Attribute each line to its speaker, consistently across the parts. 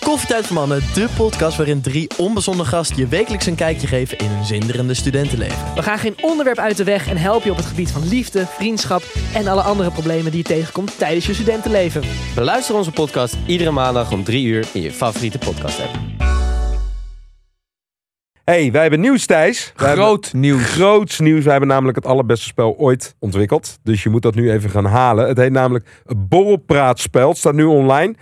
Speaker 1: Koffietijd voor Mannen, de podcast waarin drie onbezonnen gasten je wekelijks een kijkje geven in hun zinderende studentenleven.
Speaker 2: We gaan geen onderwerp uit de weg en helpen je op het gebied van liefde, vriendschap en alle andere problemen die je tegenkomt tijdens je studentenleven.
Speaker 3: Beluister onze podcast iedere maandag om 3 uur in je favoriete podcast app.
Speaker 4: hey, wij hebben nieuws, Thijs. Wij
Speaker 5: Groot nieuws.
Speaker 4: Hebben groots nieuws. Wij hebben namelijk het allerbeste spel ooit ontwikkeld. Dus je moet dat nu even gaan halen. Het heet namelijk het Borrelpraatspel. Het staat nu online.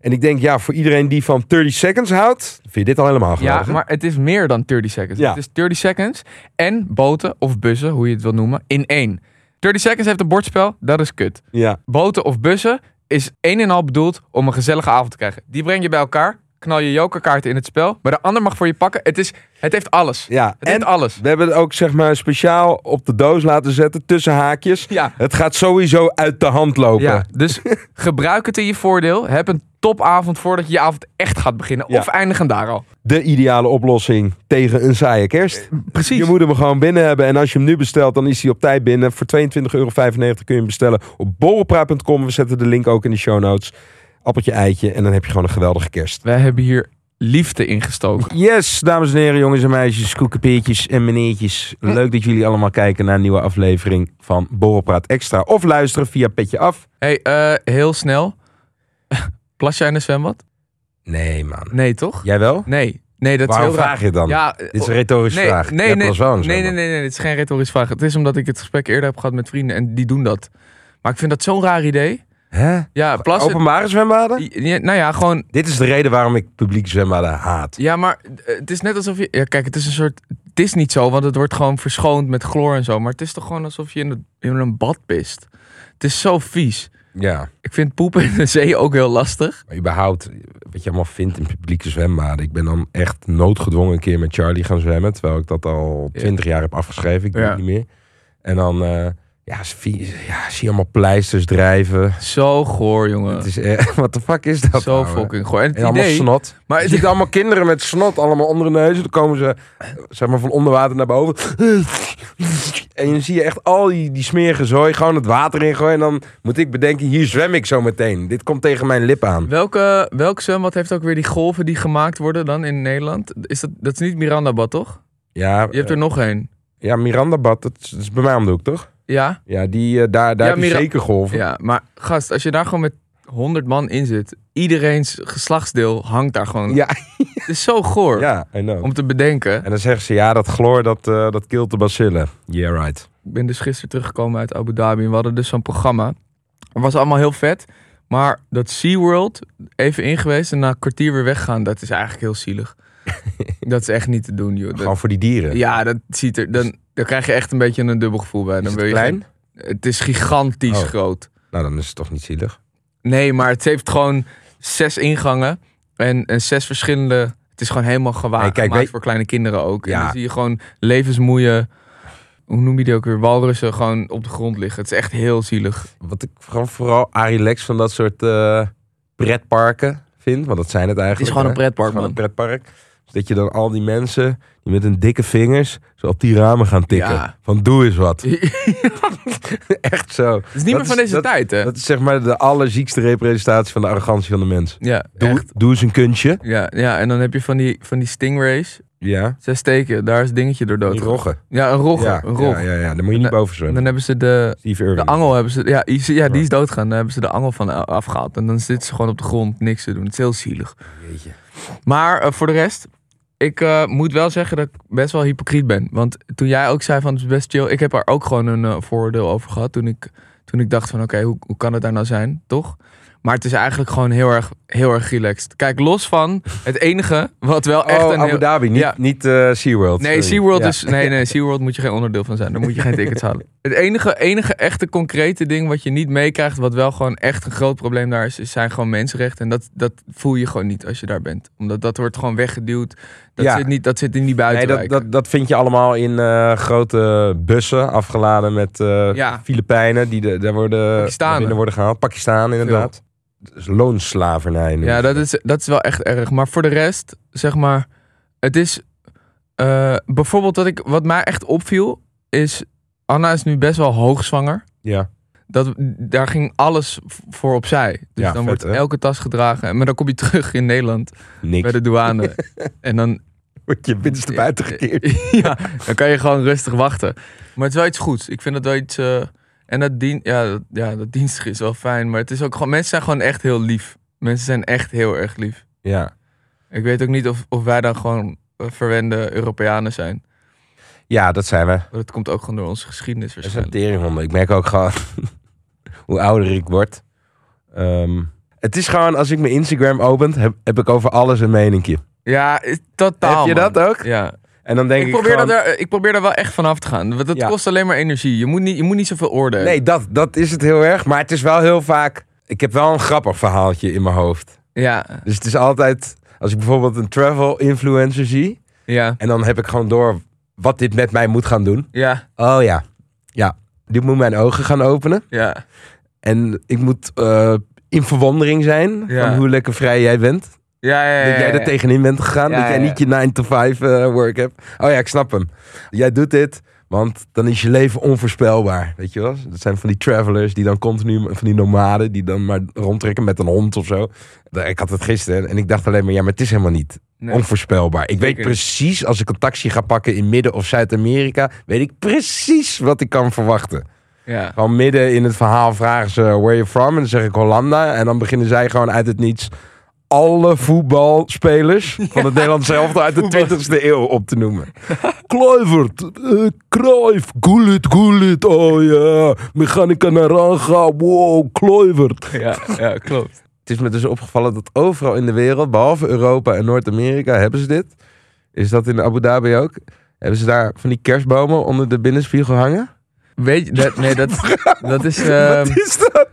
Speaker 4: En ik denk, ja, voor iedereen die van 30 seconds houdt, vind je dit al helemaal
Speaker 5: Ja,
Speaker 4: geweldig. hè?
Speaker 5: maar het is meer dan 30 seconds.
Speaker 4: Ja.
Speaker 5: Het is 30 seconds en boten of bussen, hoe je het wil noemen, in één. 30 seconds heeft een bordspel, dat is kut.
Speaker 4: ja.
Speaker 5: Boten of bussen is één en al bedoeld om een gezellige avond te krijgen. Die breng je bij elkaar, knal je jokerkaarten in het spel, maar de ander mag voor je pakken. Het, is, het heeft alles.
Speaker 4: Ja,
Speaker 5: Het heeft alles.
Speaker 4: We hebben het ook zeg maar speciaal op de doos laten zetten, tussen haakjes.
Speaker 5: Ja.
Speaker 4: Het gaat sowieso uit de hand lopen.
Speaker 5: Ja, dus gebruik het in je voordeel. Heb een topavond voordat je je avond echt gaat beginnen.
Speaker 4: Ja.
Speaker 5: Of eindigen daar al.
Speaker 4: De ideale oplossing tegen een saaie kerst.
Speaker 5: Precies.
Speaker 4: Je moet hem gewoon binnen hebben. En als je hem nu bestelt, dan is hij op tijd binnen. Voor 22,95 euro kun je hem bestellen op borrelpraat.com. We zetten de link ook in de show notes. Appeltje, eitje. En dan heb je gewoon een geweldige kerst.
Speaker 5: Wij hebben hier liefde ingestoken.
Speaker 4: Yes, dames en heren, jongens en meisjes, koekenpeertjes en meneertjes. Leuk dat jullie allemaal kijken naar een nieuwe aflevering van Borrelpraat Extra. Of luisteren via Petje Af.
Speaker 5: hey, eh, heel snel. Plas jij in de zwembad?
Speaker 4: Nee, man.
Speaker 5: Nee, toch?
Speaker 4: Jij wel?
Speaker 5: Nee. Nee, dat
Speaker 4: Waarom
Speaker 5: is heel raar.
Speaker 4: vraag je het dan?
Speaker 5: Ja, oh,
Speaker 4: Dit is een retorische
Speaker 5: nee,
Speaker 4: vraag.
Speaker 5: Nee,
Speaker 4: Jij
Speaker 5: nee,
Speaker 4: was wel een
Speaker 5: nee, nee,
Speaker 4: zwembad.
Speaker 5: nee, nee, dit is geen retorische vraag. Het is omdat ik het gesprek eerder heb gehad met vrienden en die doen dat. Maar ik vind dat zo'n raar idee.
Speaker 4: Hè?
Speaker 5: Ja, plas.
Speaker 4: Openbare zwembaden?
Speaker 5: Ja, nou ja, gewoon
Speaker 4: Dit is de reden waarom ik publiek zwembaden haat.
Speaker 5: Ja, maar eh, het is net alsof je. Ja, kijk, het is een soort. Het is niet zo, want het wordt gewoon verschoond met chloor en zo. Maar het is toch gewoon alsof je in, het- in een bad pist. Het is zo vies.
Speaker 4: Ja,
Speaker 5: Ik vind poepen in de zee ook heel lastig.
Speaker 4: maar überhaupt, wat je allemaal vindt in publieke zwembaden. Ik ben dan echt noodgedwongen een keer met Charlie gaan zwemmen. Terwijl ik dat al
Speaker 5: Ja.
Speaker 4: twintig jaar heb afgeschreven. Ik doe
Speaker 5: Ja.
Speaker 4: het niet meer. En dan eh, ja, is vies. ja, zie je allemaal pleisters drijven.
Speaker 5: Zo goor, jongen.
Speaker 4: Het is, eh, wat de fuck is dat
Speaker 5: Zo
Speaker 4: nou, hè?
Speaker 5: fucking goor. En het
Speaker 4: En allemaal
Speaker 5: idee.
Speaker 4: snot.
Speaker 5: maar
Speaker 4: Je
Speaker 5: het,
Speaker 4: ziet allemaal kinderen met snot allemaal onder hun neuzen. Dan komen ze zeg maar, van onder water naar boven. En dan zie je echt al die, die smerige zooi gewoon het water in gooien. En dan moet ik bedenken, hier zwem ik zo meteen. Dit komt tegen mijn lip aan.
Speaker 5: welke, welk zwembad heeft ook weer die golven die gemaakt worden dan in Nederland? Is dat, dat is niet Mirandabad, toch?
Speaker 4: Ja,
Speaker 5: Je hebt er nog één.
Speaker 4: ja Miranda Bad, dat is, dat is bij mij om de hoek, toch?
Speaker 5: Ja?
Speaker 4: Ja, die, eh, daar, daar
Speaker 5: Ja,
Speaker 4: heb je
Speaker 5: Mira-
Speaker 4: zeker golven.
Speaker 5: Ja, maar gast, als je daar gewoon met 100 man in zit, iedereen's geslachtsdeel hangt daar gewoon.
Speaker 4: Ja,
Speaker 5: Het is zo goor.
Speaker 4: ja, I know.
Speaker 5: om te bedenken.
Speaker 4: En dan zeggen ze, ja, dat chloor, dat, eh, dat kilt de bacillen. Yeah, right.
Speaker 5: Ik ben dus gisteren teruggekomen uit Abu Dhabi. En we hadden dus zo'n programma. Het was allemaal heel vet. Maar dat SeaWorld, even ingeweest en na een kwartier weer weggaan, dat is eigenlijk heel zielig. dat is echt niet te doen, joh. Dat-
Speaker 4: Gewoon voor die dieren.
Speaker 5: ja, dat ziet er. Dan, dan krijg je echt een beetje een dubbel gevoel bij. Dan
Speaker 4: het
Speaker 5: wil je
Speaker 4: klein?
Speaker 5: geen- het is gigantisch
Speaker 4: Oh.
Speaker 5: groot.
Speaker 4: Nou, dan is het toch niet zielig.
Speaker 5: Nee, maar het heeft gewoon zes ingangen en, en zes verschillende. Het is gewoon helemaal gewaagd.
Speaker 4: Nee, kijk,
Speaker 5: gemaakt
Speaker 4: weet-
Speaker 5: voor kleine kinderen ook. En
Speaker 4: Ja.
Speaker 5: dan zie je gewoon levensmoeie. Hoe noem je die ook weer? Walrussen gewoon op de grond liggen. Het is echt heel zielig.
Speaker 4: Wat ik gewoon vooral arilex van dat soort eh, pretparken vind. Want dat zijn het eigenlijk.
Speaker 2: Het is gewoon een
Speaker 4: hè?
Speaker 2: pretpark,
Speaker 4: Gewoon een
Speaker 2: man.
Speaker 4: pretpark. Dus dat je dan al die mensen die met hun dikke vingers zo op die ramen gaan tikken.
Speaker 5: Ja.
Speaker 4: Van doe eens wat.
Speaker 5: het
Speaker 4: Echt zo. Het
Speaker 5: is niet meer van deze tijd, hè?
Speaker 4: Dat is zeg maar de allerziekste representatie van de arrogantie van de mens.
Speaker 5: ja,
Speaker 4: Doe,
Speaker 5: echt.
Speaker 4: doe eens een kunstje.
Speaker 5: Ja, ja, en dan heb je van die, van die stingrays.
Speaker 4: Ja.
Speaker 5: Zes steken, daar is het dingetje door dood.
Speaker 4: Die roggen.
Speaker 5: Ja, een rog.
Speaker 4: Ja,
Speaker 5: een rog.
Speaker 4: ja, ja, ja. Daar moet je niet
Speaker 5: En-
Speaker 4: boven
Speaker 5: En
Speaker 4: zwemmen.
Speaker 5: dan hebben ze de,
Speaker 4: Steve
Speaker 5: de
Speaker 4: Irwin.
Speaker 5: angel. Hebben ze, ja, die, ja, die is doodgaan. Daar hebben ze de angel van a- afgehaald. En dan zitten ze gewoon op de grond, niks te doen. Het is heel zielig.
Speaker 4: Jeetje.
Speaker 5: Maar eh, voor de rest, ik eh, moet wel zeggen dat ik best wel hypocriet ben. Want toen jij ook zei van het is best chill, ik heb er ook gewoon een eh, voordeel over gehad. Toen ik, toen ik dacht van oké, hoe, hoe kan het daar nou zijn, toch? Maar het is eigenlijk gewoon heel erg, heel erg relaxed. Kijk, los van het enige wat wel echt
Speaker 4: oh,
Speaker 5: een
Speaker 4: Abu
Speaker 5: heel-
Speaker 4: Dhabi, niet,
Speaker 5: ja.
Speaker 4: niet eh, SeaWorld.
Speaker 5: Nee,
Speaker 4: Sorry.
Speaker 5: SeaWorld
Speaker 4: Ja.
Speaker 5: is. Nee, nee, SeaWorld moet je geen onderdeel van zijn. Daar moet je geen tickets halen. Het enige, enige echte concrete ding wat je niet meekrijgt, wat wel gewoon echt een groot probleem daar is, is- zijn gewoon mensenrechten. En dat, dat voel je gewoon niet als je daar bent. Omdat dat wordt gewoon weggeduwd. Dat,
Speaker 4: Ja.
Speaker 5: zit, niet, dat zit in die
Speaker 4: Nee, dat,
Speaker 5: buitenwijk.
Speaker 4: dat, dat vind je allemaal in eh, grote bussen afgeladen met eh,
Speaker 5: Ja.
Speaker 4: Filipijnen die de, daar worden,
Speaker 5: Pakistanen.
Speaker 4: naar binnen worden gehaald. Pakistan inderdaad. Dat is loonslavernij. noemen
Speaker 5: ja,
Speaker 4: ze
Speaker 5: dat is, dat is wel echt erg. Maar voor de rest, zeg maar, het is. eh, bijvoorbeeld dat ik, wat mij echt opviel, is. Anna is nu best wel hoogzwanger.
Speaker 4: Ja.
Speaker 5: dat, daar ging alles v- voor opzij. Dus
Speaker 4: Ja, vet,
Speaker 5: dan wordt
Speaker 4: hè?
Speaker 5: elke tas gedragen. Maar dan kom je terug in Nederland bij
Speaker 4: Niks.
Speaker 5: de douane. en dan,
Speaker 4: Word je binnenste buiten
Speaker 5: Eh,
Speaker 4: gekeerd.
Speaker 5: ja, dan kan je gewoon rustig wachten. Maar het is wel iets goeds. Ik vind dat wel iets... eh, en dat, dien, ja, dat, ja, dat dienstig is wel fijn. Maar het is ook gewoon... Mensen zijn gewoon echt heel lief. Mensen zijn echt heel erg lief.
Speaker 4: Ja.
Speaker 5: Ik weet ook niet of, of wij dan gewoon eh, verwende Europeanen zijn.
Speaker 4: ja, dat zijn we.
Speaker 5: Maar dat komt ook gewoon door onze geschiedenis
Speaker 4: Dat zijn
Speaker 5: waarschijnlijk.
Speaker 4: teringhonden. Ik merk ook gewoon hoe ouder ik word. Ehm, het is gewoon, als ik mijn Instagram opent, heb, heb ik over alles een meningje.
Speaker 5: Ja, is- totaal.
Speaker 4: heb je
Speaker 5: man.
Speaker 4: dat ook?
Speaker 5: Ja.
Speaker 4: En dan denk ik,
Speaker 5: Ik probeer,
Speaker 4: gewoon,
Speaker 5: dat er, ik probeer er wel echt vanaf te gaan. Want dat
Speaker 4: Ja.
Speaker 5: kost alleen maar energie. Je moet niet, je moet niet zoveel oordelen.
Speaker 4: Nee, dat, dat is het heel erg. Maar het is wel heel vaak... Ik heb wel een grappig verhaaltje in mijn hoofd.
Speaker 5: Ja,
Speaker 4: Dus het is altijd... Als ik bijvoorbeeld een travel influencer zie...
Speaker 5: ja,
Speaker 4: En dan heb ik gewoon door wat dit met mij moet gaan doen.
Speaker 5: ja,
Speaker 4: Oh ja, ja. Dit moet mijn ogen gaan openen.
Speaker 5: ja.
Speaker 4: En ik moet eh, in verwondering zijn
Speaker 5: Ja.
Speaker 4: van hoe lekker vrij jij bent.
Speaker 5: Ja, ja, ja,
Speaker 4: Dat jij
Speaker 5: ja,
Speaker 4: er
Speaker 5: ja.
Speaker 4: tegenin bent gegaan.
Speaker 5: Ja,
Speaker 4: dat jij
Speaker 5: ja, ja.
Speaker 4: niet je 9 to 5 eh, work hebt. Oh ja, ik snap hem. Jij doet dit, want dan is je leven onvoorspelbaar. Weet je wel? Dat zijn van die travelers die dan continu, van die nomaden, die dan maar rondtrekken met een hond of zo. Da- Ik had het gisteren en ik dacht alleen maar, ja, maar het is helemaal niet
Speaker 5: Nee.
Speaker 4: onvoorspelbaar. Ik weet
Speaker 5: Zeker.
Speaker 4: precies, als ik een taxi ga pakken in Midden- of Zuid-Amerika, weet ik precies wat ik kan verwachten.
Speaker 5: Ja.
Speaker 4: Gewoon midden in het verhaal vragen ze where you from. En dan zeg ik Hollanda. En dan beginnen zij gewoon uit het niets alle voetbalspelers van het Nederlands zelf uit de 20ste eeuw op te noemen. Kluivert, eh Cruyff, Gullit, Gullit, oh ja, Mechanica Naranja, wow, Kluivert.
Speaker 5: Ja, ja, klopt.
Speaker 4: Het is me dus opgevallen dat overal in de wereld, behalve Europa en Noord-Amerika, hebben ze dit. Is dat in Abu Dhabi ook? Hebben ze daar van die kerstbomen onder de binnenspiegel hangen?
Speaker 5: Weet je, dat, nee, dat, dat is... ehm,
Speaker 4: Wat is dat?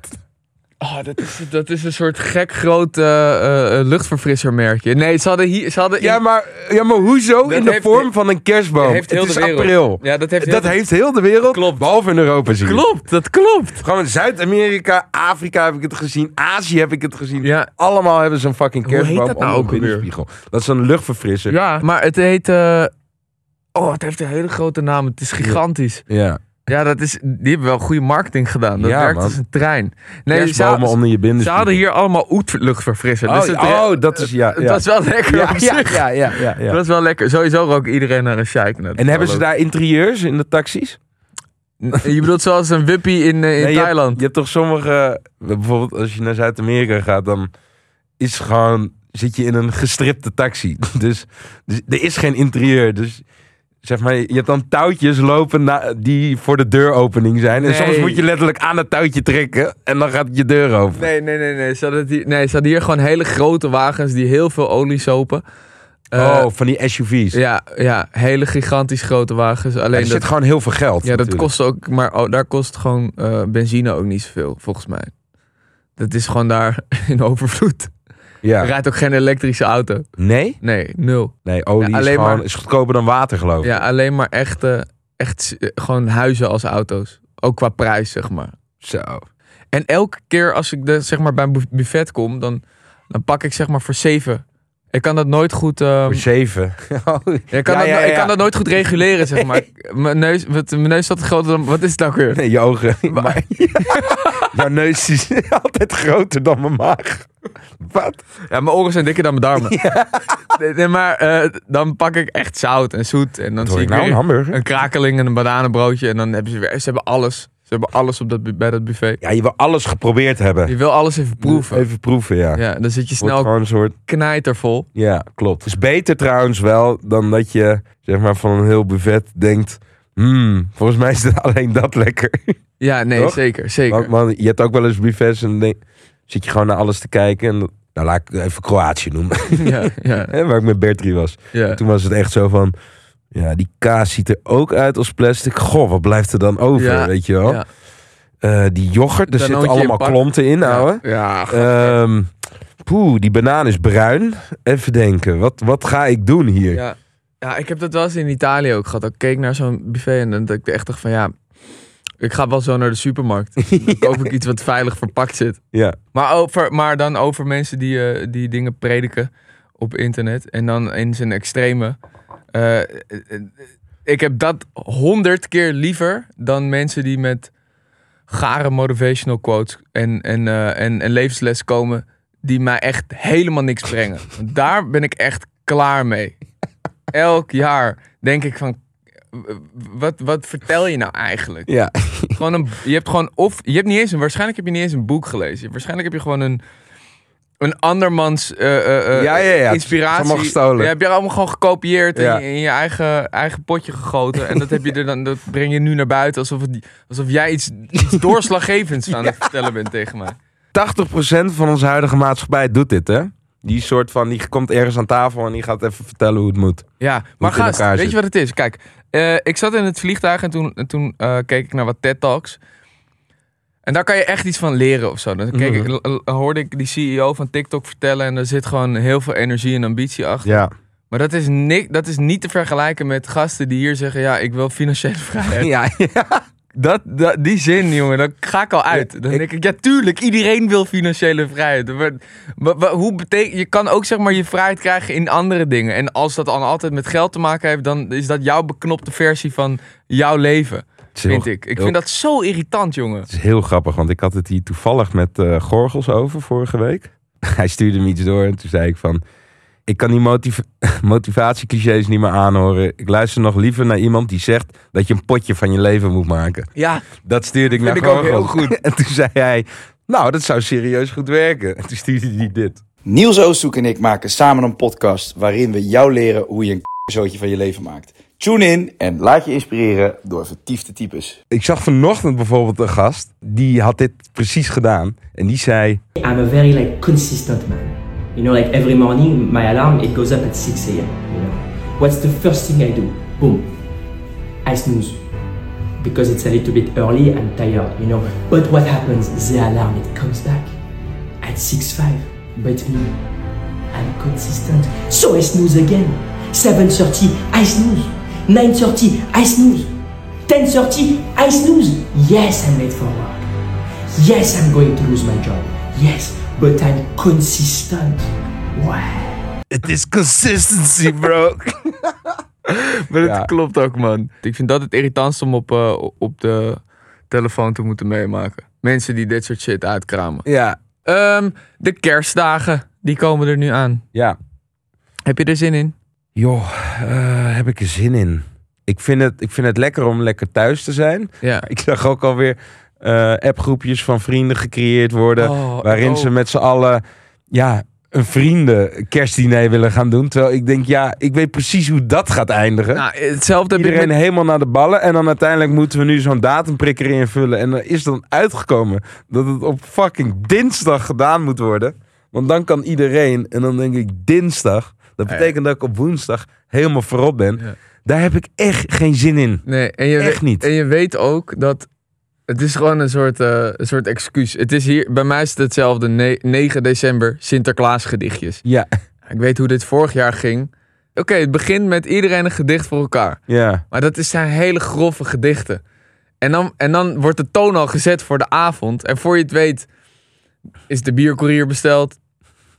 Speaker 5: Ah, dat, is, dat is een soort gek groot eh, eh, eh, luchtverfrissermerkje. Nee, ze hadden hier... Ze hadden in-
Speaker 4: Ja, maar, ja, maar hoezo in de
Speaker 5: heeft-
Speaker 4: vorm van een kerstboom?
Speaker 5: heeft heel
Speaker 4: het is
Speaker 5: de wereld.
Speaker 4: april.
Speaker 5: ja, dat heeft...
Speaker 4: dat heeft heel de wereld,
Speaker 5: Klopt.
Speaker 4: behalve in Europa zien.
Speaker 5: Klopt, dat klopt.
Speaker 4: Gewoon in Zuid-Amerika, Afrika heb ik het gezien, Azië heb ik het gezien.
Speaker 5: Ja,
Speaker 4: Allemaal hebben ze een fucking
Speaker 5: Hoe heet
Speaker 4: kerstboom
Speaker 5: dat nou
Speaker 4: onder
Speaker 5: ook
Speaker 4: een
Speaker 5: alweer?
Speaker 4: binnenspiegel. Dat is een luchtverfrisser.
Speaker 5: ja. maar het heet... eh, oh, het heeft een hele grote naam. Het is gigantisch.
Speaker 4: ja.
Speaker 5: Ja, dat is, die hebben wel goede marketing gedaan. Dat
Speaker 4: Ja,
Speaker 5: werkt
Speaker 4: man.
Speaker 5: als een trein. Nee, ze,
Speaker 4: Kerstbomen onder je
Speaker 5: ze
Speaker 4: binnenspiegel.
Speaker 5: hadden hier allemaal oetluchtverfrisser.
Speaker 4: Oh,
Speaker 5: Dus het,
Speaker 4: ja, oh, dat is... Ja,
Speaker 5: het
Speaker 4: ja.
Speaker 5: was wel lekker.
Speaker 4: ja,
Speaker 5: op
Speaker 4: ja,
Speaker 5: zich.
Speaker 4: ja, ja, ja, ja.
Speaker 5: Het was wel lekker. Sowieso rook iedereen naar een Nou, shike. net.
Speaker 4: En hebben ze daar interieurs in de taxis?
Speaker 5: Je bedoelt zoals een wippie in, eh, in
Speaker 4: Nee, je hebt-
Speaker 5: Thailand.
Speaker 4: Je hebt toch sommige... Bijvoorbeeld als je naar Zuid-Amerika gaat, dan is gewoon... Zit je in een gestripte taxi. Dus, dus er is geen interieur. Dus zeg maar, je hebt dan touwtjes lopen na, die voor de deuropening zijn. En
Speaker 5: Nee.
Speaker 4: soms moet je letterlijk aan het touwtje trekken en dan gaat je deur open.
Speaker 5: Nee, nee, nee. nee. Ze, hadden het hier, nee ze hadden hier gewoon hele grote wagens die heel veel olie sopen. Eh,
Speaker 4: oh, van die SUV's. Ja,
Speaker 5: Ja, ja, hele gigantisch grote wagens. Alleen
Speaker 4: er
Speaker 5: dat,
Speaker 4: zit gewoon heel veel geld.
Speaker 5: ja, dat
Speaker 4: natuurlijk.
Speaker 5: kost ook, maar oh, daar kost gewoon eh, benzine ook niet zoveel, volgens mij. Dat is gewoon daar in overvloed.
Speaker 4: Ja.
Speaker 5: Er rijdt ook geen elektrische auto.
Speaker 4: Nee?
Speaker 5: Nee, nul.
Speaker 4: Nee, olie
Speaker 5: Ja,
Speaker 4: is,
Speaker 5: alleen
Speaker 4: gewoon,
Speaker 5: maar-
Speaker 4: is goedkoper dan water, geloof ik.
Speaker 5: Ja, alleen maar echte, echt s- eh, gewoon huizen als auto's. Ook qua prijs, zeg maar.
Speaker 4: Zo.
Speaker 5: Um, En elke keer als ik de, zeg maar, bij een bu- buffet kom, dan, dan pak ik zeg maar voor zeven. Ik kan dat nooit goed... ehm,
Speaker 4: Voor zeven.
Speaker 5: ik, kan
Speaker 4: Ja,
Speaker 5: dat,
Speaker 4: ja,
Speaker 5: no- ik
Speaker 4: ja.
Speaker 5: kan dat nooit goed reguleren, zeg maar. Mijn neus, wat, mijn neus zat groter dan... Wat is het nou weer?
Speaker 4: Nee, je ogen. Maar, Jouw neus is altijd groter dan mijn maag. Wat?
Speaker 5: Ja, mijn oren zijn dikker dan mijn darmen. Nee, nee, maar eh, dan pak ik echt zout en zoet. En dan
Speaker 4: Hoor
Speaker 5: zie
Speaker 4: ik
Speaker 5: ik
Speaker 4: nou een
Speaker 5: weer
Speaker 4: hamburger?
Speaker 5: een krakeling en een bananenbroodje. En dan hebben ze weer... Ze hebben alles. Ze hebben alles op dat, bu- bij dat buffet.
Speaker 4: Ja, je wil alles geprobeerd hebben.
Speaker 5: Je wil alles even proeven.
Speaker 4: Even proeven, ja.
Speaker 5: Ja, dan zit je
Speaker 4: Wordt
Speaker 5: snel
Speaker 4: gewoon een soort...
Speaker 5: knijtervol.
Speaker 4: Ja, klopt. Is beter trouwens wel dan dat je zeg maar, van een heel buffet denkt... Hmm, volgens mij is het alleen dat lekker.
Speaker 5: Ja, nee,
Speaker 4: Toch?
Speaker 5: zeker, zeker.
Speaker 4: Want, want je hebt ook wel eens buffets en dan denk- zit je gewoon naar alles te kijken. En, nou, laat ik even Kroatië noemen.
Speaker 5: ja, ja,
Speaker 4: hè, waar ik met Bertrie was.
Speaker 5: ja.
Speaker 4: Toen was het echt zo van... Ja, die kaas ziet er ook uit als plastic. Goh, wat blijft er dan over,
Speaker 5: Ja,
Speaker 4: weet je wel?
Speaker 5: ja.
Speaker 4: Eh, die yoghurt, er
Speaker 5: Danoontje
Speaker 4: zitten
Speaker 5: in
Speaker 4: allemaal
Speaker 5: pak.
Speaker 4: klonten in, ouwe.
Speaker 5: Ja, ja, g-
Speaker 4: Ehm, poeh, die banaan is bruin. Even denken, wat, wat ga ik doen hier?
Speaker 5: ja. Ja, ik heb dat wel eens in Italië ook gehad. Ik keek naar zo'n buffet en dan dacht ik echt dacht van ja, ik ga wel zo naar de supermarkt. Dan koop ik iets wat veilig verpakt zit.
Speaker 4: Ja.
Speaker 5: Maar, over, maar dan over mensen die, eh, die dingen prediken op internet en dan in zijn extreme. Eh, eh, eh, ik heb dat honderd keer liever dan mensen die met gare motivational quotes en, en, eh, en, en levensles komen die mij echt helemaal niks brengen. Want Daar ben ik echt klaar mee. Elk jaar denk ik van, eh, wat, wat vertel je nou eigenlijk?
Speaker 4: Ja.
Speaker 5: Gewoon een, je hebt gewoon, of je hebt niet eens een, waarschijnlijk heb je niet eens een boek gelezen. Waarschijnlijk heb je gewoon een, een andermans eh, eh, eh,
Speaker 4: Ja, ja, ja. Het
Speaker 5: inspiratie.
Speaker 4: is allemaal gestolen.
Speaker 5: Ja, heb je allemaal gewoon gekopieerd
Speaker 4: Ja.
Speaker 5: en in je eigen, eigen potje gegoten. En dat, heb je er dan, dat breng je nu naar buiten alsof, het, alsof jij iets, iets doorslaggevends aan het vertellen bent tegen mij.
Speaker 4: 80% van onze huidige maatschappij doet dit, hè? Die soort van, die komt ergens aan tafel en die gaat even vertellen hoe het moet.
Speaker 5: Ja, maar
Speaker 4: het in
Speaker 5: gast,
Speaker 4: elkaar
Speaker 5: weet
Speaker 4: zit.
Speaker 5: je wat het is? Kijk, eh, ik zat in het vliegtuig en toen, en toen eh, keek ik naar wat TED-talks. En daar kan je echt iets van leren of zo. Dan keek
Speaker 4: Mhm.
Speaker 5: ik, l- l- hoorde ik die CEO van TikTok vertellen en er zit gewoon heel veel energie en ambitie achter.
Speaker 4: Ja.
Speaker 5: Maar dat is, ni- dat is niet te vergelijken met gasten die hier zeggen, ja, ik wil financiële vrijheid.
Speaker 4: Ja,
Speaker 5: Dat, dat, die zin, jongen, dan ga ik al uit. Dan
Speaker 4: ik-
Speaker 5: denk ik, ja, tuurlijk, iedereen wil financiële vrijheid. Maar, maar- maar hoe betekent, je kan ook zeg maar je vrijheid krijgen in andere dingen. En als dat dan altijd met geld te maken heeft, dan is dat jouw beknopte versie van jouw leven, vind ik. Ik vind dat zo irritant, jongen.
Speaker 4: Het is heel grappig, want ik had het hier toevallig met eh, Gorgels over vorige week. Hij stuurde me iets door en toen zei ik van... Ik kan die motiv motivatieclichés niet meer aanhoren. Ik luister nog liever naar iemand die zegt dat je een potje van je leven moet maken.
Speaker 5: Ja,
Speaker 4: Dat stuurde ik
Speaker 5: Vind
Speaker 4: naar
Speaker 5: ik ook
Speaker 4: Gorgels.
Speaker 5: heel goed.
Speaker 4: En toen zei hij, nou dat zou serieus goed werken. En toen stuurde hij dit.
Speaker 6: Niels Oosthoek en ik maken samen een podcast waarin we jou leren hoe je een zootje van je leven maakt. Tune in en laat je inspireren door vertiefde types.
Speaker 4: Ik zag vanochtend bijvoorbeeld een gast, die had dit precies gedaan. En die zei,
Speaker 7: I'm a very like consistent man. You know, like every morning my alarm it goes up at 6 a.m. You know, what's the first thing I do? Boom, I snooze because it's a little bit early. I'm tired. You know, but what happens? The alarm it comes back at 6:05. But me, I'm consistent, so I snooze again. 7:30, I snooze. 9:30, I snooze. 10:30, I snooze. Yes, I'm late for work. Yes, I'm going to lose my job. Yes, but I'm consistent. Wow.
Speaker 4: het is consistency bro.
Speaker 5: maar dat
Speaker 4: Ja.
Speaker 5: klopt ook, man. Ik vind dat het irritantst om op, eh, op de telefoon te moeten meemaken. Mensen die dit soort shit uitkramen.
Speaker 4: ja,
Speaker 5: Ehm, de kerstdagen, die komen er nu aan.
Speaker 4: ja.
Speaker 5: Heb je er zin in?
Speaker 4: Joh, eh, heb ik er zin in. Ik vind, het, ik vind het lekker om lekker thuis te zijn.
Speaker 5: Ja.
Speaker 4: Ik zag ook alweer eh appgroepjes van vrienden gecreëerd worden.
Speaker 5: Oh,
Speaker 4: waarin
Speaker 5: oh.
Speaker 4: ze met z'n allen ja, een vrienden kerstdiner willen gaan doen. Terwijl ik denk, ja, ik weet precies hoe dat gaat eindigen.
Speaker 5: Nou, hetzelfde heb
Speaker 4: Iedereen
Speaker 5: ik met...
Speaker 4: helemaal naar de ballen. En dan uiteindelijk moeten we nu zo'n datumprikker invullen. En er is dan uitgekomen dat het op fucking dinsdag gedaan moet worden. Want dan kan iedereen. En dan denk ik dinsdag. Dat betekent dat ik op woensdag helemaal voorop ben.
Speaker 5: Ja.
Speaker 4: Daar heb ik echt geen zin in.
Speaker 5: Nee, en je
Speaker 4: Echt
Speaker 5: weet-
Speaker 4: niet.
Speaker 5: En je weet ook dat... Het is gewoon een soort, eh, een soort excuus. Het is hier, bij mij is het hetzelfde. Ne- 9 december, Sinterklaas gedichtjes.
Speaker 4: Ja,
Speaker 5: Ik weet hoe dit vorig jaar ging. Oké, het begint met iedereen een gedicht voor elkaar.
Speaker 4: ja,
Speaker 5: Maar dat is- zijn hele grove gedichten. En dan, en dan wordt de toon al gezet voor de avond. En voor je het weet, is de biercourier besteld.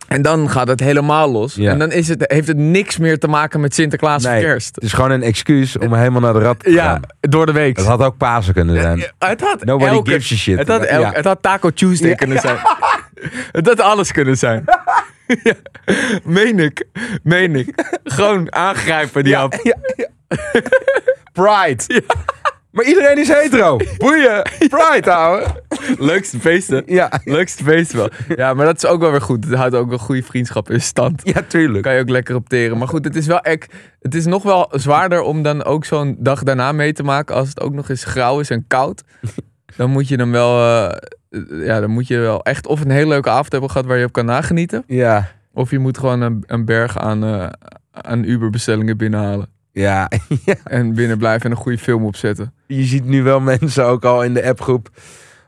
Speaker 5: En dan gaat het helemaal los.
Speaker 4: Ja.
Speaker 5: En dan is het, heeft het niks meer te maken met Sinterklaas
Speaker 4: Nee.
Speaker 5: of kerst.
Speaker 4: het is gewoon een excuus om helemaal naar de rat te
Speaker 5: Ja,
Speaker 4: gaan.
Speaker 5: door de week.
Speaker 4: Het had ook Pasen kunnen zijn.
Speaker 5: Ja, het had
Speaker 4: Nobody
Speaker 5: elke-
Speaker 4: gives a shit.
Speaker 5: Het had, elke-
Speaker 4: Ja.
Speaker 5: het had Taco Tuesday kunnen zijn. het had alles kunnen zijn. ja. Meen ik. Meen ik. Gewoon aangrijpen die hap.
Speaker 4: Pride. Maar iedereen is hetero. Boeien. Pride, ouwe.
Speaker 5: Leukste feesten.
Speaker 4: Ja,
Speaker 5: Leukste feest wel. Ja, maar dat is ook wel weer goed. Het houdt ook een goede vriendschap in stand.
Speaker 4: ja, tuurlijk.
Speaker 5: Kan je ook lekker opteren. Maar goed, het is wel ek, Het is nog wel zwaarder om dan ook zo'n dag daarna mee te maken. Als het ook nog eens grauw is en koud. Dan moet je dan wel. eh, ja, dan moet je wel echt of een hele leuke avond hebben gehad waar je op kan nagenieten.
Speaker 4: Ja,
Speaker 5: Of je moet gewoon een, een berg aan, eh, aan Uber-bestellingen binnenhalen.
Speaker 4: ja.
Speaker 5: En binnen blijven en een goede film opzetten.
Speaker 4: je ziet nu wel mensen ook al in de appgroep.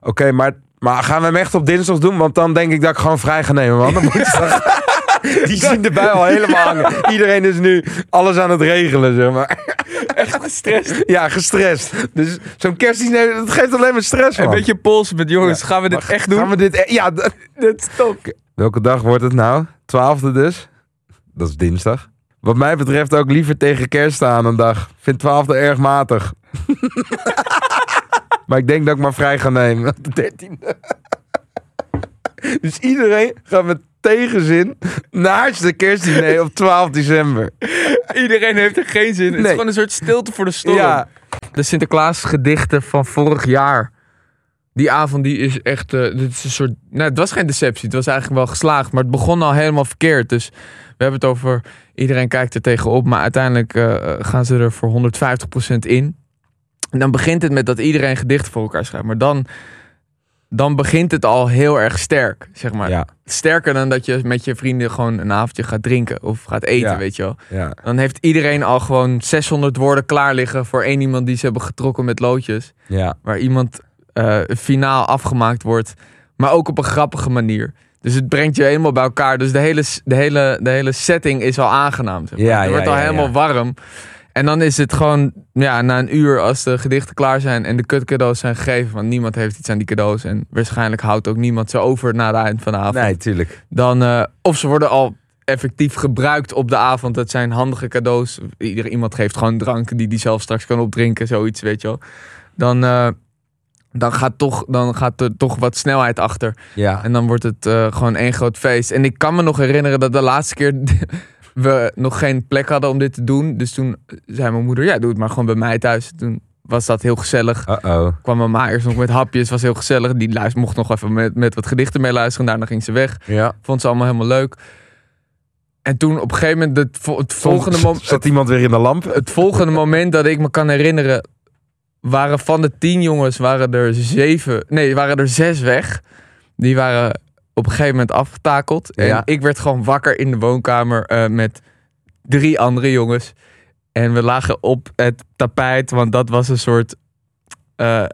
Speaker 4: Oké, maar, maar gaan we hem echt op dinsdag doen? Want dan denk ik dat ik gewoon vrij ga nemen, man. Dan moet je- Die zien de bui al helemaal hangen. Iedereen is nu alles aan het regelen, zeg maar.
Speaker 5: Echt gestrest.
Speaker 4: Ja, gestrest. Dus zo'n kerstdiner, dat geeft alleen maar stress, man.
Speaker 5: Een beetje pols met jongens. Gaan we dit echt doen?
Speaker 4: Gaan we dit... e- Ja, d-
Speaker 5: Dit is top.
Speaker 4: Welke dag wordt het nou? Twaalfde dus. Dat is dinsdag. Wat mij betreft ook liever tegen kerst aan een dag. Vind twaalfde erg matig. Maar ik denk dat ik maar vrij ga nemen. op De dertiende. Dus iedereen gaat met tegenzin naar de kerstdiner op 12 december.
Speaker 5: Iedereen heeft er geen zin in. Het
Speaker 4: Nee.
Speaker 5: is gewoon een soort stilte voor de storm.
Speaker 4: Ja,
Speaker 5: De Sinterklaas gedichten van vorig jaar. Die avond die is echt. eh, dit is een soort, nou, het was geen deceptie. Het was eigenlijk wel geslaagd. Maar het begon al helemaal verkeerd. Dus we hebben het over. Iedereen kijkt er tegenop. Maar uiteindelijk eh, gaan ze er voor 150% in. En dan begint het met dat iedereen gedichten voor elkaar schrijft. Maar dan. Dan begint het al heel erg sterk, zeg maar.
Speaker 4: ja,
Speaker 5: Sterker dan dat je met je vrienden gewoon een avondje gaat drinken of gaat eten,
Speaker 4: Ja.
Speaker 5: weet je wel.
Speaker 4: ja.
Speaker 5: Dan heeft iedereen al gewoon 600 woorden klaar liggen voor één iemand die ze hebben getrokken met loodjes.
Speaker 4: ja.
Speaker 5: Waar iemand eh, finaal afgemaakt wordt, maar ook op een grappige manier. Dus het brengt je helemaal bij elkaar. Dus de hele, s- de hele, de hele setting is al aangenaam. zeg maar.
Speaker 4: Ja,
Speaker 5: het
Speaker 4: ja,
Speaker 5: wordt al
Speaker 4: ja,
Speaker 5: helemaal
Speaker 4: ja.
Speaker 5: warm. En dan is het gewoon, ja, na een uur als de gedichten klaar zijn en de kutcadeaus zijn gegeven. Want niemand heeft iets aan die cadeaus. En waarschijnlijk houdt ook niemand ze over na het eind van de avond.
Speaker 4: Nee, tuurlijk.
Speaker 5: Dan, eh, of ze worden al effectief gebruikt op de avond. Dat zijn handige cadeaus. Ieder, iemand geeft gewoon drank die die zelf straks kan opdrinken. Zoiets, weet je wel. Dan, eh, dan, gaat, toch, dan gaat er toch wat snelheid achter.
Speaker 4: Ja.
Speaker 5: En dan wordt het eh, gewoon één groot feest. En ik kan me nog herinneren dat de laatste keer we nog geen plek hadden om dit te doen. Dus toen zei mijn moeder, ja doe het maar gewoon bij mij thuis. Toen was dat heel gezellig
Speaker 4: Uh-oh.
Speaker 5: kwam mijn ma eerst nog met hapjes, was heel gezellig. Die luist, mocht nog even met, met wat gedichten mee luisteren. Daarna ging ze weg.
Speaker 4: Ja.
Speaker 5: Vond ze allemaal helemaal leuk. En toen op een gegeven moment, het, vo- het, volgende, mom-
Speaker 4: Zat iemand weer in de lamp?
Speaker 5: het volgende moment dat ik me kan herinneren, waren van de tien jongens, waren er zeven, nee, waren er zes weg. Die waren op een gegeven moment afgetakeld. En
Speaker 4: Ja.
Speaker 5: ik werd gewoon wakker in de woonkamer eh, met drie andere jongens. En we lagen op het tapijt, want dat was een soort. eh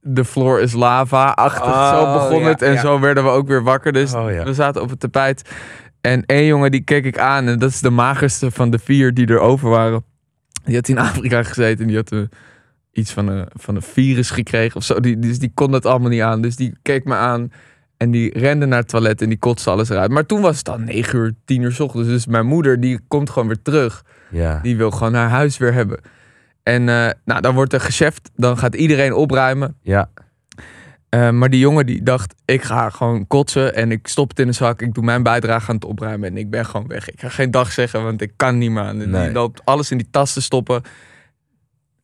Speaker 5: de floor is lava-achtig.
Speaker 4: Oh,
Speaker 5: zo begon
Speaker 4: ja,
Speaker 5: het. En
Speaker 4: ja.
Speaker 5: zo werden we ook weer wakker. Dus
Speaker 4: Oh, ja.
Speaker 5: we zaten op het tapijt. En één jongen die keek ik aan. En dat is de magerste van de vier die er over waren. Die had in Afrika gezeten. En die had een, iets van een, van een virus gekregen of zo. Die, dus die kon dat allemaal niet aan. Dus die keek me aan. En die rende naar het toilet en die kotste alles eruit. Maar toen was het al 9 uur, 10 uur 's ochtends. Dus mijn moeder, die komt gewoon weer terug.
Speaker 4: Ja.
Speaker 5: Die wil gewoon haar huis weer hebben. En eh, nou, dan wordt er gecheft. Dan gaat iedereen opruimen.
Speaker 4: Ja.
Speaker 5: Eh, maar die jongen die dacht, ik ga gewoon kotsen en ik stop het in een zak. Ik doe mijn bijdrage aan het opruimen en ik ben gewoon weg. Ik ga geen dag zeggen, want ik kan niet meer. aan. En
Speaker 4: Nee.
Speaker 5: Die loopt alles in die tas te stoppen.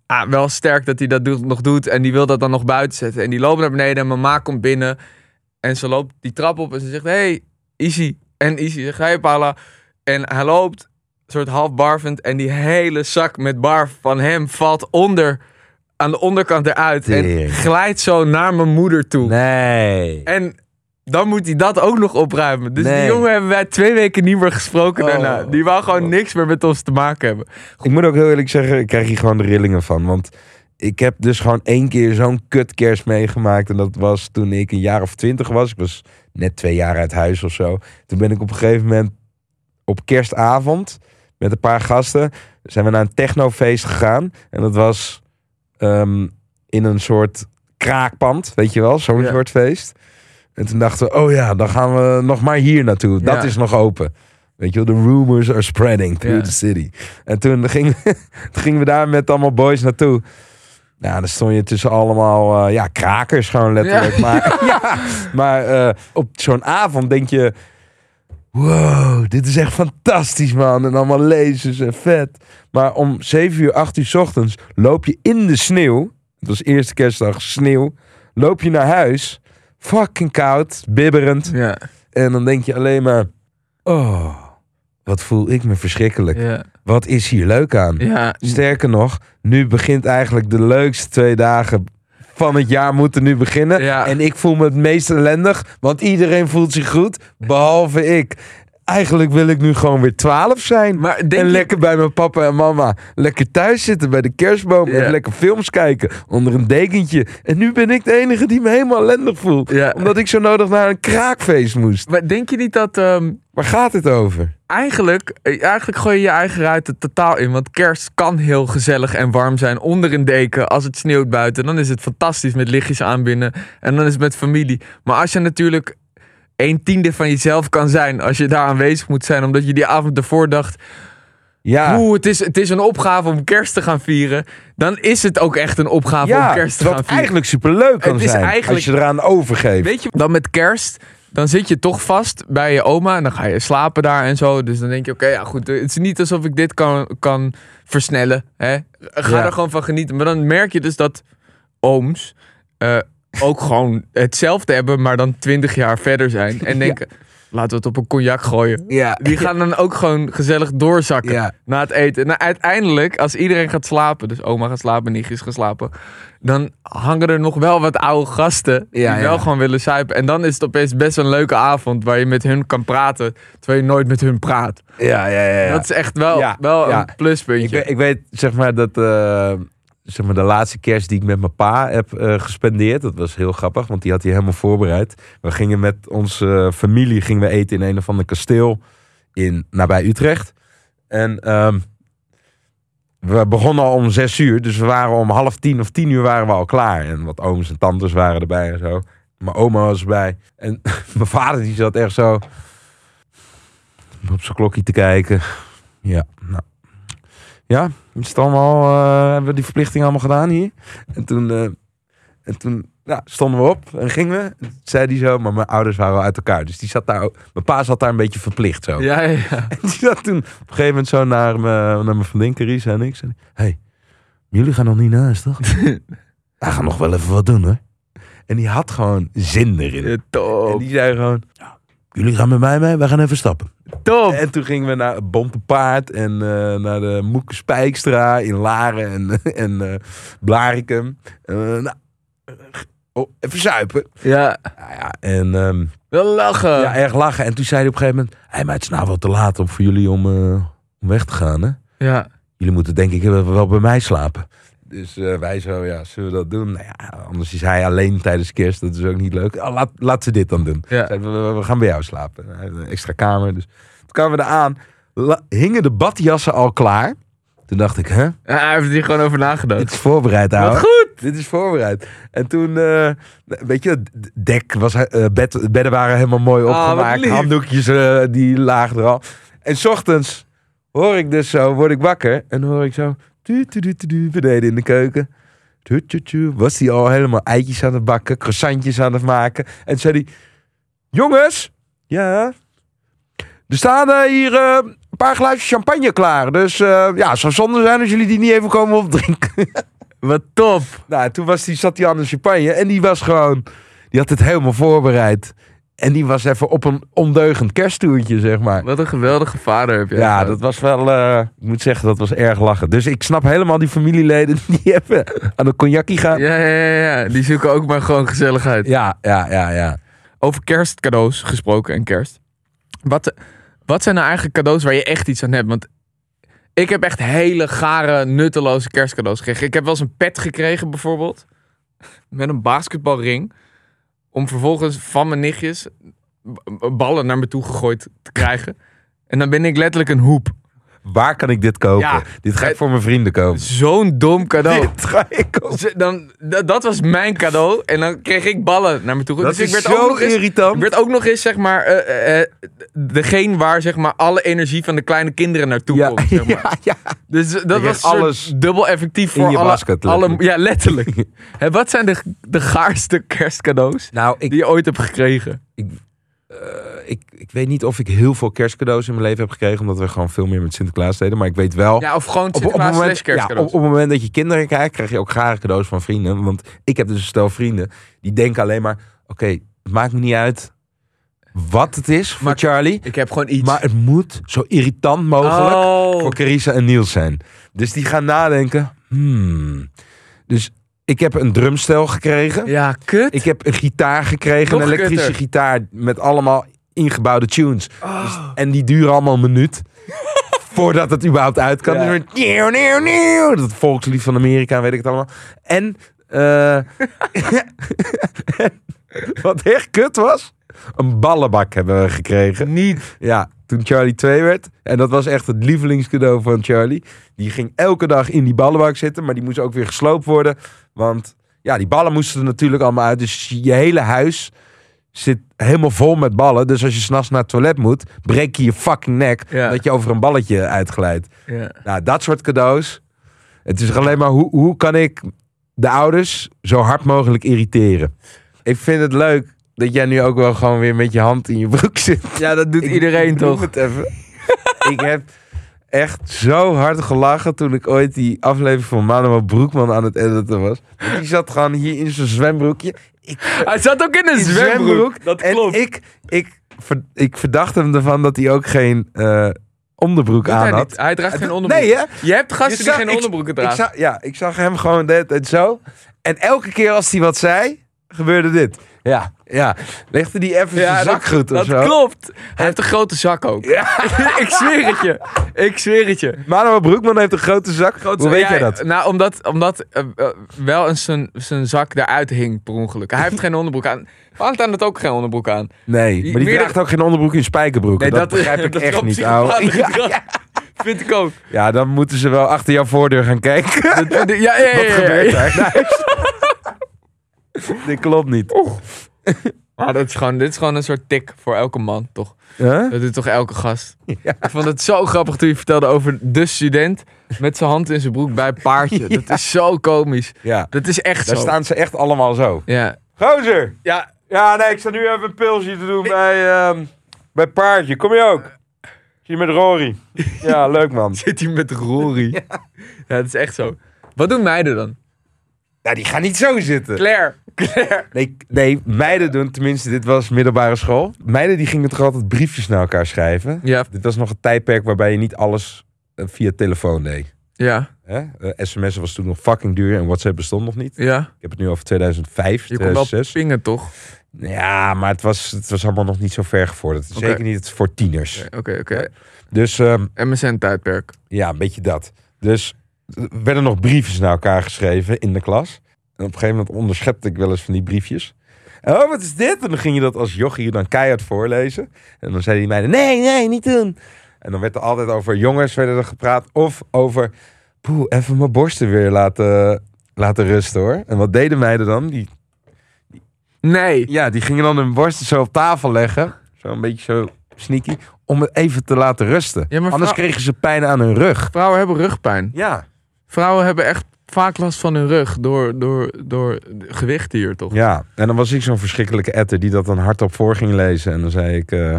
Speaker 5: Ah, wel sterk dat hij dat doet- nog doet en die wil dat dan nog buiten zetten. En die loopt naar beneden en mijn ma komt binnen. En ze loopt die trap op en ze zegt, hey, Izzy. En Izzy zegt, hey Paula. En hij loopt, soort half barvend. En die hele zak met barf van hem valt onder, aan de onderkant eruit. En
Speaker 4: Tering.
Speaker 5: glijdt zo naar mijn moeder toe.
Speaker 4: Nee.
Speaker 5: En dan moet hij dat ook nog opruimen. Dus die
Speaker 4: Nee.
Speaker 5: jongen hebben wij twee weken niet meer gesproken
Speaker 4: Oh.
Speaker 5: daarna. Die wou gewoon niks meer met ons te maken hebben.
Speaker 4: Ik moet ook heel eerlijk zeggen, ik krijg hier gewoon de rillingen van. Want ik heb dus gewoon één keer zo'n kutkerst meegemaakt. En dat was toen ik een jaar of twintig was. Ik was net twee jaar uit huis of zo. Toen ben ik op een gegeven moment op kerstavond met een paar gasten... zijn we naar een technofeest gegaan. En dat was ehm, in een soort kraakpand, weet je wel? Zo'n
Speaker 5: Ja.
Speaker 4: soort feest. En toen dachten we, oh ja, dan gaan we nog maar hier naartoe. Dat
Speaker 5: Ja.
Speaker 4: is nog open. Weet je wel, the rumors are spreading through
Speaker 5: Ja.
Speaker 4: the city. En toen gingen, toen gingen we daar met allemaal boys naartoe. Nou, dan stond je tussen allemaal, eh, ja, krakers gewoon letterlijk. Maar, ja, maar eh, op zo'n avond denk je, wow, dit is echt fantastisch man. En allemaal lasers en vet. Maar om 7 uur, 8 uur 's ochtends loop je in de sneeuw. Het was eerste kerstdag, sneeuw. Loop je naar huis. Fucking koud, bibberend.
Speaker 5: Ja,
Speaker 4: En dan denk je alleen maar, oh, wat voel ik me verschrikkelijk.
Speaker 5: ja,
Speaker 4: Wat is hier leuk aan?
Speaker 5: ja.
Speaker 4: Sterker nog, nu begint eigenlijk de leukste twee dagen van het jaar moeten nu beginnen.
Speaker 5: Ja.
Speaker 4: En ik voel me het meest ellendig, want iedereen voelt zich goed, behalve ik. Eigenlijk wil ik nu gewoon weer 12 zijn.
Speaker 5: Maar denk
Speaker 4: en
Speaker 5: je-
Speaker 4: lekker bij mijn papa en mama. Lekker thuis zitten bij de kerstboom.
Speaker 5: Ja.
Speaker 4: En lekker films kijken onder een dekentje. En nu ben ik de enige die me helemaal ellendig voelt.
Speaker 5: Ja.
Speaker 4: Omdat ik zo nodig naar een kraakfeest moest.
Speaker 5: Maar denk je niet dat... ehm,
Speaker 4: Waar gaat het over?
Speaker 5: Eigenlijk, eh, eigenlijk gooi je je eigen ruiten totaal in. Want kerst kan heel gezellig en warm zijn onder een deken. Als het sneeuwt buiten, dan is het fantastisch met lichtjes aanbinden. En dan is het met familie. Maar als je natuurlijk een tiende van jezelf kan zijn. Als je daar aanwezig moet zijn. Omdat je die avond ervoor dacht.
Speaker 4: Ja.
Speaker 5: Oeh, het is, het is een opgave om kerst te gaan vieren. Dan is het ook echt een opgave
Speaker 4: ja,
Speaker 5: om kerst te
Speaker 4: wat
Speaker 5: gaan vieren.
Speaker 4: eigenlijk superleuk kan
Speaker 5: Het is
Speaker 4: zijn
Speaker 5: eigenlijk-
Speaker 4: als je eraan overgeeft.
Speaker 5: Weet je, dan met kerst, dan zit je toch vast bij je oma en dan ga je slapen daar en zo. Dus dan denk je, oké, ja goed, het is niet alsof ik dit kan, kan versnellen. Hè? Ga
Speaker 4: Ja.
Speaker 5: er gewoon van genieten. Maar dan merk je dus dat ooms eh, ook gewoon hetzelfde hebben, maar dan twintig jaar verder zijn. En denken, laten we het op een cognac gooien.
Speaker 4: Ja.
Speaker 5: Die gaan dan ook gewoon gezellig doorzakken
Speaker 4: Ja.
Speaker 5: na het eten. En uiteindelijk, als iedereen gaat slapen, dus oma gaat slapen, nichtjes gaan slapen, dan hangen er nog wel wat oude gasten die
Speaker 4: Ja, ja.
Speaker 5: wel gewoon willen zuipen. En dan is het opeens best een leuke avond waar je met hun kan praten, terwijl je nooit met hun praat.
Speaker 4: Ja, ja, ja. ja.
Speaker 5: Dat is echt wel,
Speaker 4: Ja,
Speaker 5: wel
Speaker 4: ja.
Speaker 5: een pluspuntje.
Speaker 4: Ik, weet- ik weet, zeg maar, dat eh, zeg maar, de laatste kerst die ik met mijn pa heb eh, gespendeerd, dat was heel grappig, want die had hij helemaal voorbereid. We gingen met onze eh, familie gingen we eten in een of ander kasteel in, nabij Utrecht. En ehm, we begonnen al om zes uur, dus we waren om half tien of tien uur waren we al klaar. En wat ooms en tantes waren erbij en zo. Mijn oma was erbij. En mijn vader die zat echt zo op zijn klokje te kijken. Ja, nou. Ja, is het allemaal, eh, hebben we die verplichting allemaal gedaan hier? En toen, eh, en toen ja, stonden we op en gingen we. En toen zei die zo, maar mijn ouders waren al uit elkaar. Dus die zat daar, ook- mijn pa zat daar een beetje verplicht zo.
Speaker 5: Ja, ja, ja.
Speaker 4: En die zat toen op een gegeven moment zo naar mijn, naar mijn vriendin Carice en ik. Zei, hey, maar jullie gaan nog niet naar huis, toch? Wij gaan nog wel even wat doen, hoor. En die had gewoon zin erin.
Speaker 5: Ja,
Speaker 4: En
Speaker 5: Top,
Speaker 4: die zei gewoon, "Ja, jullie gaan met mij mee, wij gaan even stappen.
Speaker 5: top.
Speaker 4: En toen gingen we naar het Bonte Paard en eh, naar de Moeke Spijkstra in Laren en, en eh, Blarikum. Eh, nou, oh, even zuipen.
Speaker 5: Ja,
Speaker 4: Ja, ja, en ehm,
Speaker 5: wel lachen.
Speaker 4: ja,
Speaker 5: Ja,
Speaker 4: erg lachen. En toen zei hij op een gegeven moment... Hé, maar het is nou wel te laat om voor jullie om, eh, om weg te gaan, hè? Jullie moeten denk ik wel wel bij mij slapen. Dus eh, wij zo, ja, zullen we dat doen? Nou ja, anders is hij alleen tijdens kerst. Dat is ook niet leuk. Oh, laat, laat ze dit dan doen.
Speaker 5: Ja.
Speaker 4: Zeiden we, we- we gaan bij jou slapen. Hij had Een extra kamer. Dus toen kwamen we eraan. La- hingen de badjassen al klaar. Toen dacht ik, hè?
Speaker 5: Ja, Hij heeft hier gewoon over nagedacht.
Speaker 4: Dit is voorbereid, ouwe.
Speaker 5: Wat goed.
Speaker 4: Dit is voorbereid. En toen, eh, weet je, d- dek was, eh, bed, bedden waren helemaal mooi
Speaker 5: Ah, wat
Speaker 4: opgemaakt.
Speaker 5: lief.
Speaker 4: Handdoekjes, eh, die lagen er al. En 's ochtends hoor ik dus zo, word ik wakker en hoor ik zo... Tu, tu, tu, tu, tu, beneden in de keuken. Tu, tu, tu, was hij al helemaal eitjes aan het bakken, croissantjes aan het maken. En toen zei hij, jongens, ja... Er staan eh, hier eh, een paar glaasjes champagne klaar. Dus eh, ja, het zou zonde zijn als jullie die niet even komen opdrinken.
Speaker 5: Wat top.
Speaker 4: Nou, toen was die, zat hij aan de champagne en die was gewoon... Die had het helemaal voorbereid. En die was even op een ondeugend kersttoertje, zeg maar.
Speaker 5: Wat een geweldige vader heb je.
Speaker 4: Ja, dat was wel... eh, ik moet zeggen, dat was erg lachen. Dus ik snap helemaal die familieleden die even aan de cognackie gaan.
Speaker 5: Ja, ja, ja, ja. Die zoeken ook maar gewoon gezelligheid.
Speaker 4: Ja, ja, ja, ja.
Speaker 5: Over kerstcadeaus gesproken en kerst. Wat, wat zijn nou eigenlijk cadeaus waar je echt iets aan hebt? Want ik heb echt hele gare, nutteloze kerstcadeaus gekregen. Ik heb wel eens een pet gekregen bijvoorbeeld. Met een basketbalring. Om vervolgens van mijn nichtjes b- ballen naar me toe gegooid te krijgen. En dan ben ik letterlijk een hoep.
Speaker 4: Waar kan ik dit kopen?
Speaker 5: Ja.
Speaker 4: Dit ga ik
Speaker 5: Eh,
Speaker 4: voor mijn vrienden kopen.
Speaker 5: Zo'n dom cadeau.
Speaker 4: Dit ga ik kopen.
Speaker 5: Ze- Dan, dat, dat was mijn cadeau. En dan kreeg ik ballen naar me toe.
Speaker 4: Dat
Speaker 5: gegooid. Dus
Speaker 4: is
Speaker 5: ik
Speaker 4: zo
Speaker 5: nog eens-
Speaker 4: irritant.
Speaker 5: Ik werd ook nog eens, zeg maar, eh, eh, eh, degene waar zeg maar, alle energie van de kleine kinderen naartoe
Speaker 4: Ja,
Speaker 5: komt. Zeg maar.
Speaker 4: ja, ja.
Speaker 5: Dus dat
Speaker 4: kreeg
Speaker 5: was een soort
Speaker 4: alles
Speaker 5: dubbel effectief
Speaker 4: in
Speaker 5: voor
Speaker 4: je
Speaker 5: alle,
Speaker 4: basket,
Speaker 5: alle-
Speaker 4: letterlijk.
Speaker 5: Ja, letterlijk. Hè, wat zijn de, de gaarste kerstcadeaus
Speaker 4: Nou, ik,
Speaker 5: die je ooit hebt gekregen?
Speaker 4: ik, ik weet niet of ik heel veel kerstcadeaus in mijn leven heb gekregen. Omdat we gewoon veel meer met Sinterklaas deden. Maar ik weet wel...
Speaker 5: Ja, of gewoon
Speaker 4: op, op, het
Speaker 5: Sinterklaas slash
Speaker 4: moment, ja, op,
Speaker 5: kerstcadeaus.
Speaker 4: op het moment dat je kinderen krijgt, krijg je ook gare cadeaus van vrienden. Want ik heb dus een stel vrienden die denken alleen maar: oké, het maakt me niet uit wat het is voor
Speaker 5: Maar-
Speaker 4: Charlie,
Speaker 5: ik heb gewoon iets.
Speaker 4: maar het moet zo irritant mogelijk
Speaker 5: Oh.
Speaker 4: voor Carissa en Niels zijn. Dus die gaan nadenken: hmm. Dus ik heb een drumstel gekregen,
Speaker 5: Ja, kut.
Speaker 4: ik heb een gitaar gekregen,
Speaker 5: Nog
Speaker 4: een elektrische
Speaker 5: kutter. Oh.
Speaker 4: gitaar met allemaal ingebouwde tunes. Dus, En die duren allemaal een minuut. voordat het überhaupt uit kan. Dus met nieuw, nieuw, nieuw. Dat volkslied van Amerika, weet ik het allemaal. En, eh, wat echt kut was, een ballenbak hebben we gekregen.
Speaker 5: Niet.
Speaker 4: Ja, toen Charlie 2 werd. En dat was echt het lievelingscadeau van Charlie. Die ging elke dag in die ballenbak zitten, maar die moest ook weer gesloopt worden. Want ja, die ballen moesten er natuurlijk allemaal uit. Dus je hele huis zit helemaal vol met ballen. Dus als je s'nachts naar het toilet moet, breek je je fucking nek.
Speaker 5: Ja.
Speaker 4: Dat je over een balletje uitglijdt.
Speaker 5: Ja.
Speaker 4: Nou, dat soort cadeaus. Het is alleen maar hoe, hoe kan ik de ouders zo hard mogelijk irriteren. Ik vind het leuk dat jij nu ook wel gewoon weer met je hand in je broek zit.
Speaker 5: ja, dat doet
Speaker 4: Ik
Speaker 5: iedereen
Speaker 4: noem
Speaker 5: toch?
Speaker 4: het even. ik heb echt zo hard gelachen toen ik ooit die aflevering van Manuel Broekman aan het editen was. Die zat gewoon hier in zijn zwembroekje.
Speaker 5: Hij zat ook in een
Speaker 4: In
Speaker 5: zwembroek. Dat
Speaker 4: en
Speaker 5: klopt.
Speaker 4: ik, ik, ver- ik verdacht hem ervan dat hij ook geen eh, onderbroek
Speaker 5: Doet
Speaker 4: aan
Speaker 5: hij,
Speaker 4: had.
Speaker 5: niet. hij draagt geen onderbroek.
Speaker 4: Nee, hè?
Speaker 5: Je hebt gasten
Speaker 4: Je
Speaker 5: die
Speaker 4: zag-
Speaker 5: geen
Speaker 4: ik-
Speaker 5: onderbroeken
Speaker 4: Ik
Speaker 5: dragen.
Speaker 4: zag, ja, ik zag hem gewoon de hele tijd zo. En elke keer als hij wat zei, gebeurde dit. Ja, ja. Legde hij even zijn
Speaker 5: Ja, dat-
Speaker 4: zak goed of
Speaker 5: dat
Speaker 4: zo.
Speaker 5: klopt. Hij heeft een grote zak ook. ik zweer het je. Ik zweer het je.
Speaker 4: Manuel Broekman heeft een grote zak. Hoe
Speaker 5: Grote zak.
Speaker 4: weet
Speaker 5: Ja,
Speaker 4: jij dat?
Speaker 5: Nou, omdat, omdat eh, eh, wel eens zijn, zijn zak daaruit hing per ongeluk. Hij heeft geen onderbroek aan. Valentijn had ook geen onderbroek aan.
Speaker 4: Nee, maar die
Speaker 5: meerdere-
Speaker 4: draagt ook geen onderbroek in spijkerbroeken. dat, begrijp ik
Speaker 5: dat is
Speaker 4: echt
Speaker 5: wel
Speaker 4: niet, ouwe.
Speaker 5: psychopathisch gedrag. Vind ik ook.
Speaker 4: Ja, dan moeten ze wel achter jouw voordeur gaan kijken.
Speaker 5: Ja, ja, ja, ja,
Speaker 4: Wat
Speaker 5: ja.
Speaker 4: gebeurt daar? in huis? Dit klopt niet.
Speaker 5: Maar dat is gewoon, dit is gewoon een soort tik voor elke man, toch?
Speaker 4: Huh?
Speaker 5: Dat doet toch elke gast? Ik vond het zo grappig toen je vertelde over de student met zijn hand in zijn broek bij paardje. Dat is zo komisch.
Speaker 4: Ja,
Speaker 5: Dat is echt
Speaker 4: daar
Speaker 5: zo.
Speaker 4: staan ze echt allemaal zo.
Speaker 5: Ja.
Speaker 4: Gozer!
Speaker 5: Ja,
Speaker 4: Ja, nee, ik sta nu even een pilsje te doen bij, ehm, bij Paardje. Kom je ook? Zie je met Rory. Ja, leuk man.
Speaker 5: zit hij met Rory. Ja. dat is echt zo. Wat doen meiden dan?
Speaker 4: Ja, die gaan niet zo zitten.
Speaker 5: Claire. Claire.
Speaker 4: Nee, nee, meiden doen, tenminste, dit was middelbare school. Meiden die gingen toch altijd briefjes naar elkaar schrijven?
Speaker 5: Ja.
Speaker 4: Dit was nog een tijdperk waarbij je niet alles eh, via telefoon deed.
Speaker 5: Ja.
Speaker 4: Hè? Eh, SMS was toen nog fucking duur en WhatsApp bestond nog niet.
Speaker 5: Ja.
Speaker 4: Ik heb het nu over 2005,
Speaker 5: Je kon wel
Speaker 4: 2006.
Speaker 5: pingen, toch?
Speaker 4: Ja, maar het was, het was allemaal nog niet zo ver gevorderd.
Speaker 5: Oké.
Speaker 4: Zeker niet voor tieners.
Speaker 5: Oké, oké.
Speaker 4: Dus ehm,
Speaker 5: MSN-tijdperk.
Speaker 4: ja, een beetje dat. Dus er werden nog briefjes naar elkaar geschreven in de klas. En op een gegeven moment onderschepte ik wel eens van die briefjes. En, Oh, wat is dit? En dan ging je dat als jochie dan keihard voorlezen. En dan zeiden die meiden, nee, nee, niet doen. En dan werd er altijd over jongens werden er gepraat. Of over, poeh, even mijn borsten weer laten, laten rusten hoor. En wat deden meiden dan? Die,
Speaker 5: Nee.
Speaker 4: ja, die gingen dan hun borsten zo op tafel leggen. Zo een beetje zo sneaky. Om het even te laten rusten.
Speaker 5: Ja, maar
Speaker 4: Anders
Speaker 5: vrou-
Speaker 4: kregen ze pijn aan hun rug.
Speaker 5: Vrouwen hebben rugpijn.
Speaker 4: Ja.
Speaker 5: Vrouwen hebben echt vaak last van hun rug door, door, door gewicht hier, toch?
Speaker 4: Ja, en dan was ik zo'n verschrikkelijke etter die dat dan hardop voor ging lezen. En dan zei ik... eh,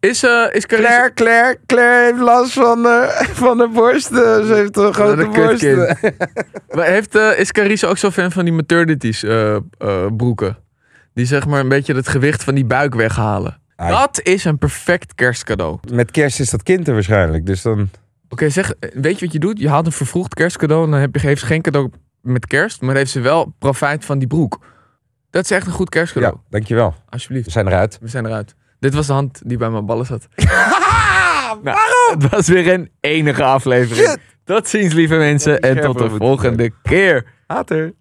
Speaker 5: Is, eh is Clarice-
Speaker 4: Claire, Claire, Claire heeft last van, eh, van de borsten. Ze heeft een
Speaker 5: Wat
Speaker 4: grote
Speaker 5: een kutkind.
Speaker 4: borsten.
Speaker 5: Maar heeft, eh, is Carice ook zo fan van die maternities eh, eh, broeken? Die zeg maar een beetje het gewicht van die buik weghalen.
Speaker 4: Ah,
Speaker 5: Dat is een perfect kerstcadeau. Oké,
Speaker 4: Met kerst is dat kind er waarschijnlijk. Dus dan...
Speaker 5: zeg, eh, weet je wat je doet? Je haalt een vervroegd kerstcadeau en dan heb je, heeft ze geen cadeau met kerst, maar heeft ze wel profijt van die broek. Dat is echt een goed kerstcadeau.
Speaker 4: Ja, dankjewel. We
Speaker 5: Alsjeblieft,
Speaker 4: zijn eruit.
Speaker 5: we zijn eruit. Dit was de hand die bij mijn ballen zat. Nou, Het was weer een enige aflevering. Tot ziens, lieve mensen, en tot
Speaker 4: scherper
Speaker 5: de
Speaker 4: moet het
Speaker 5: volgende keer.
Speaker 4: Later.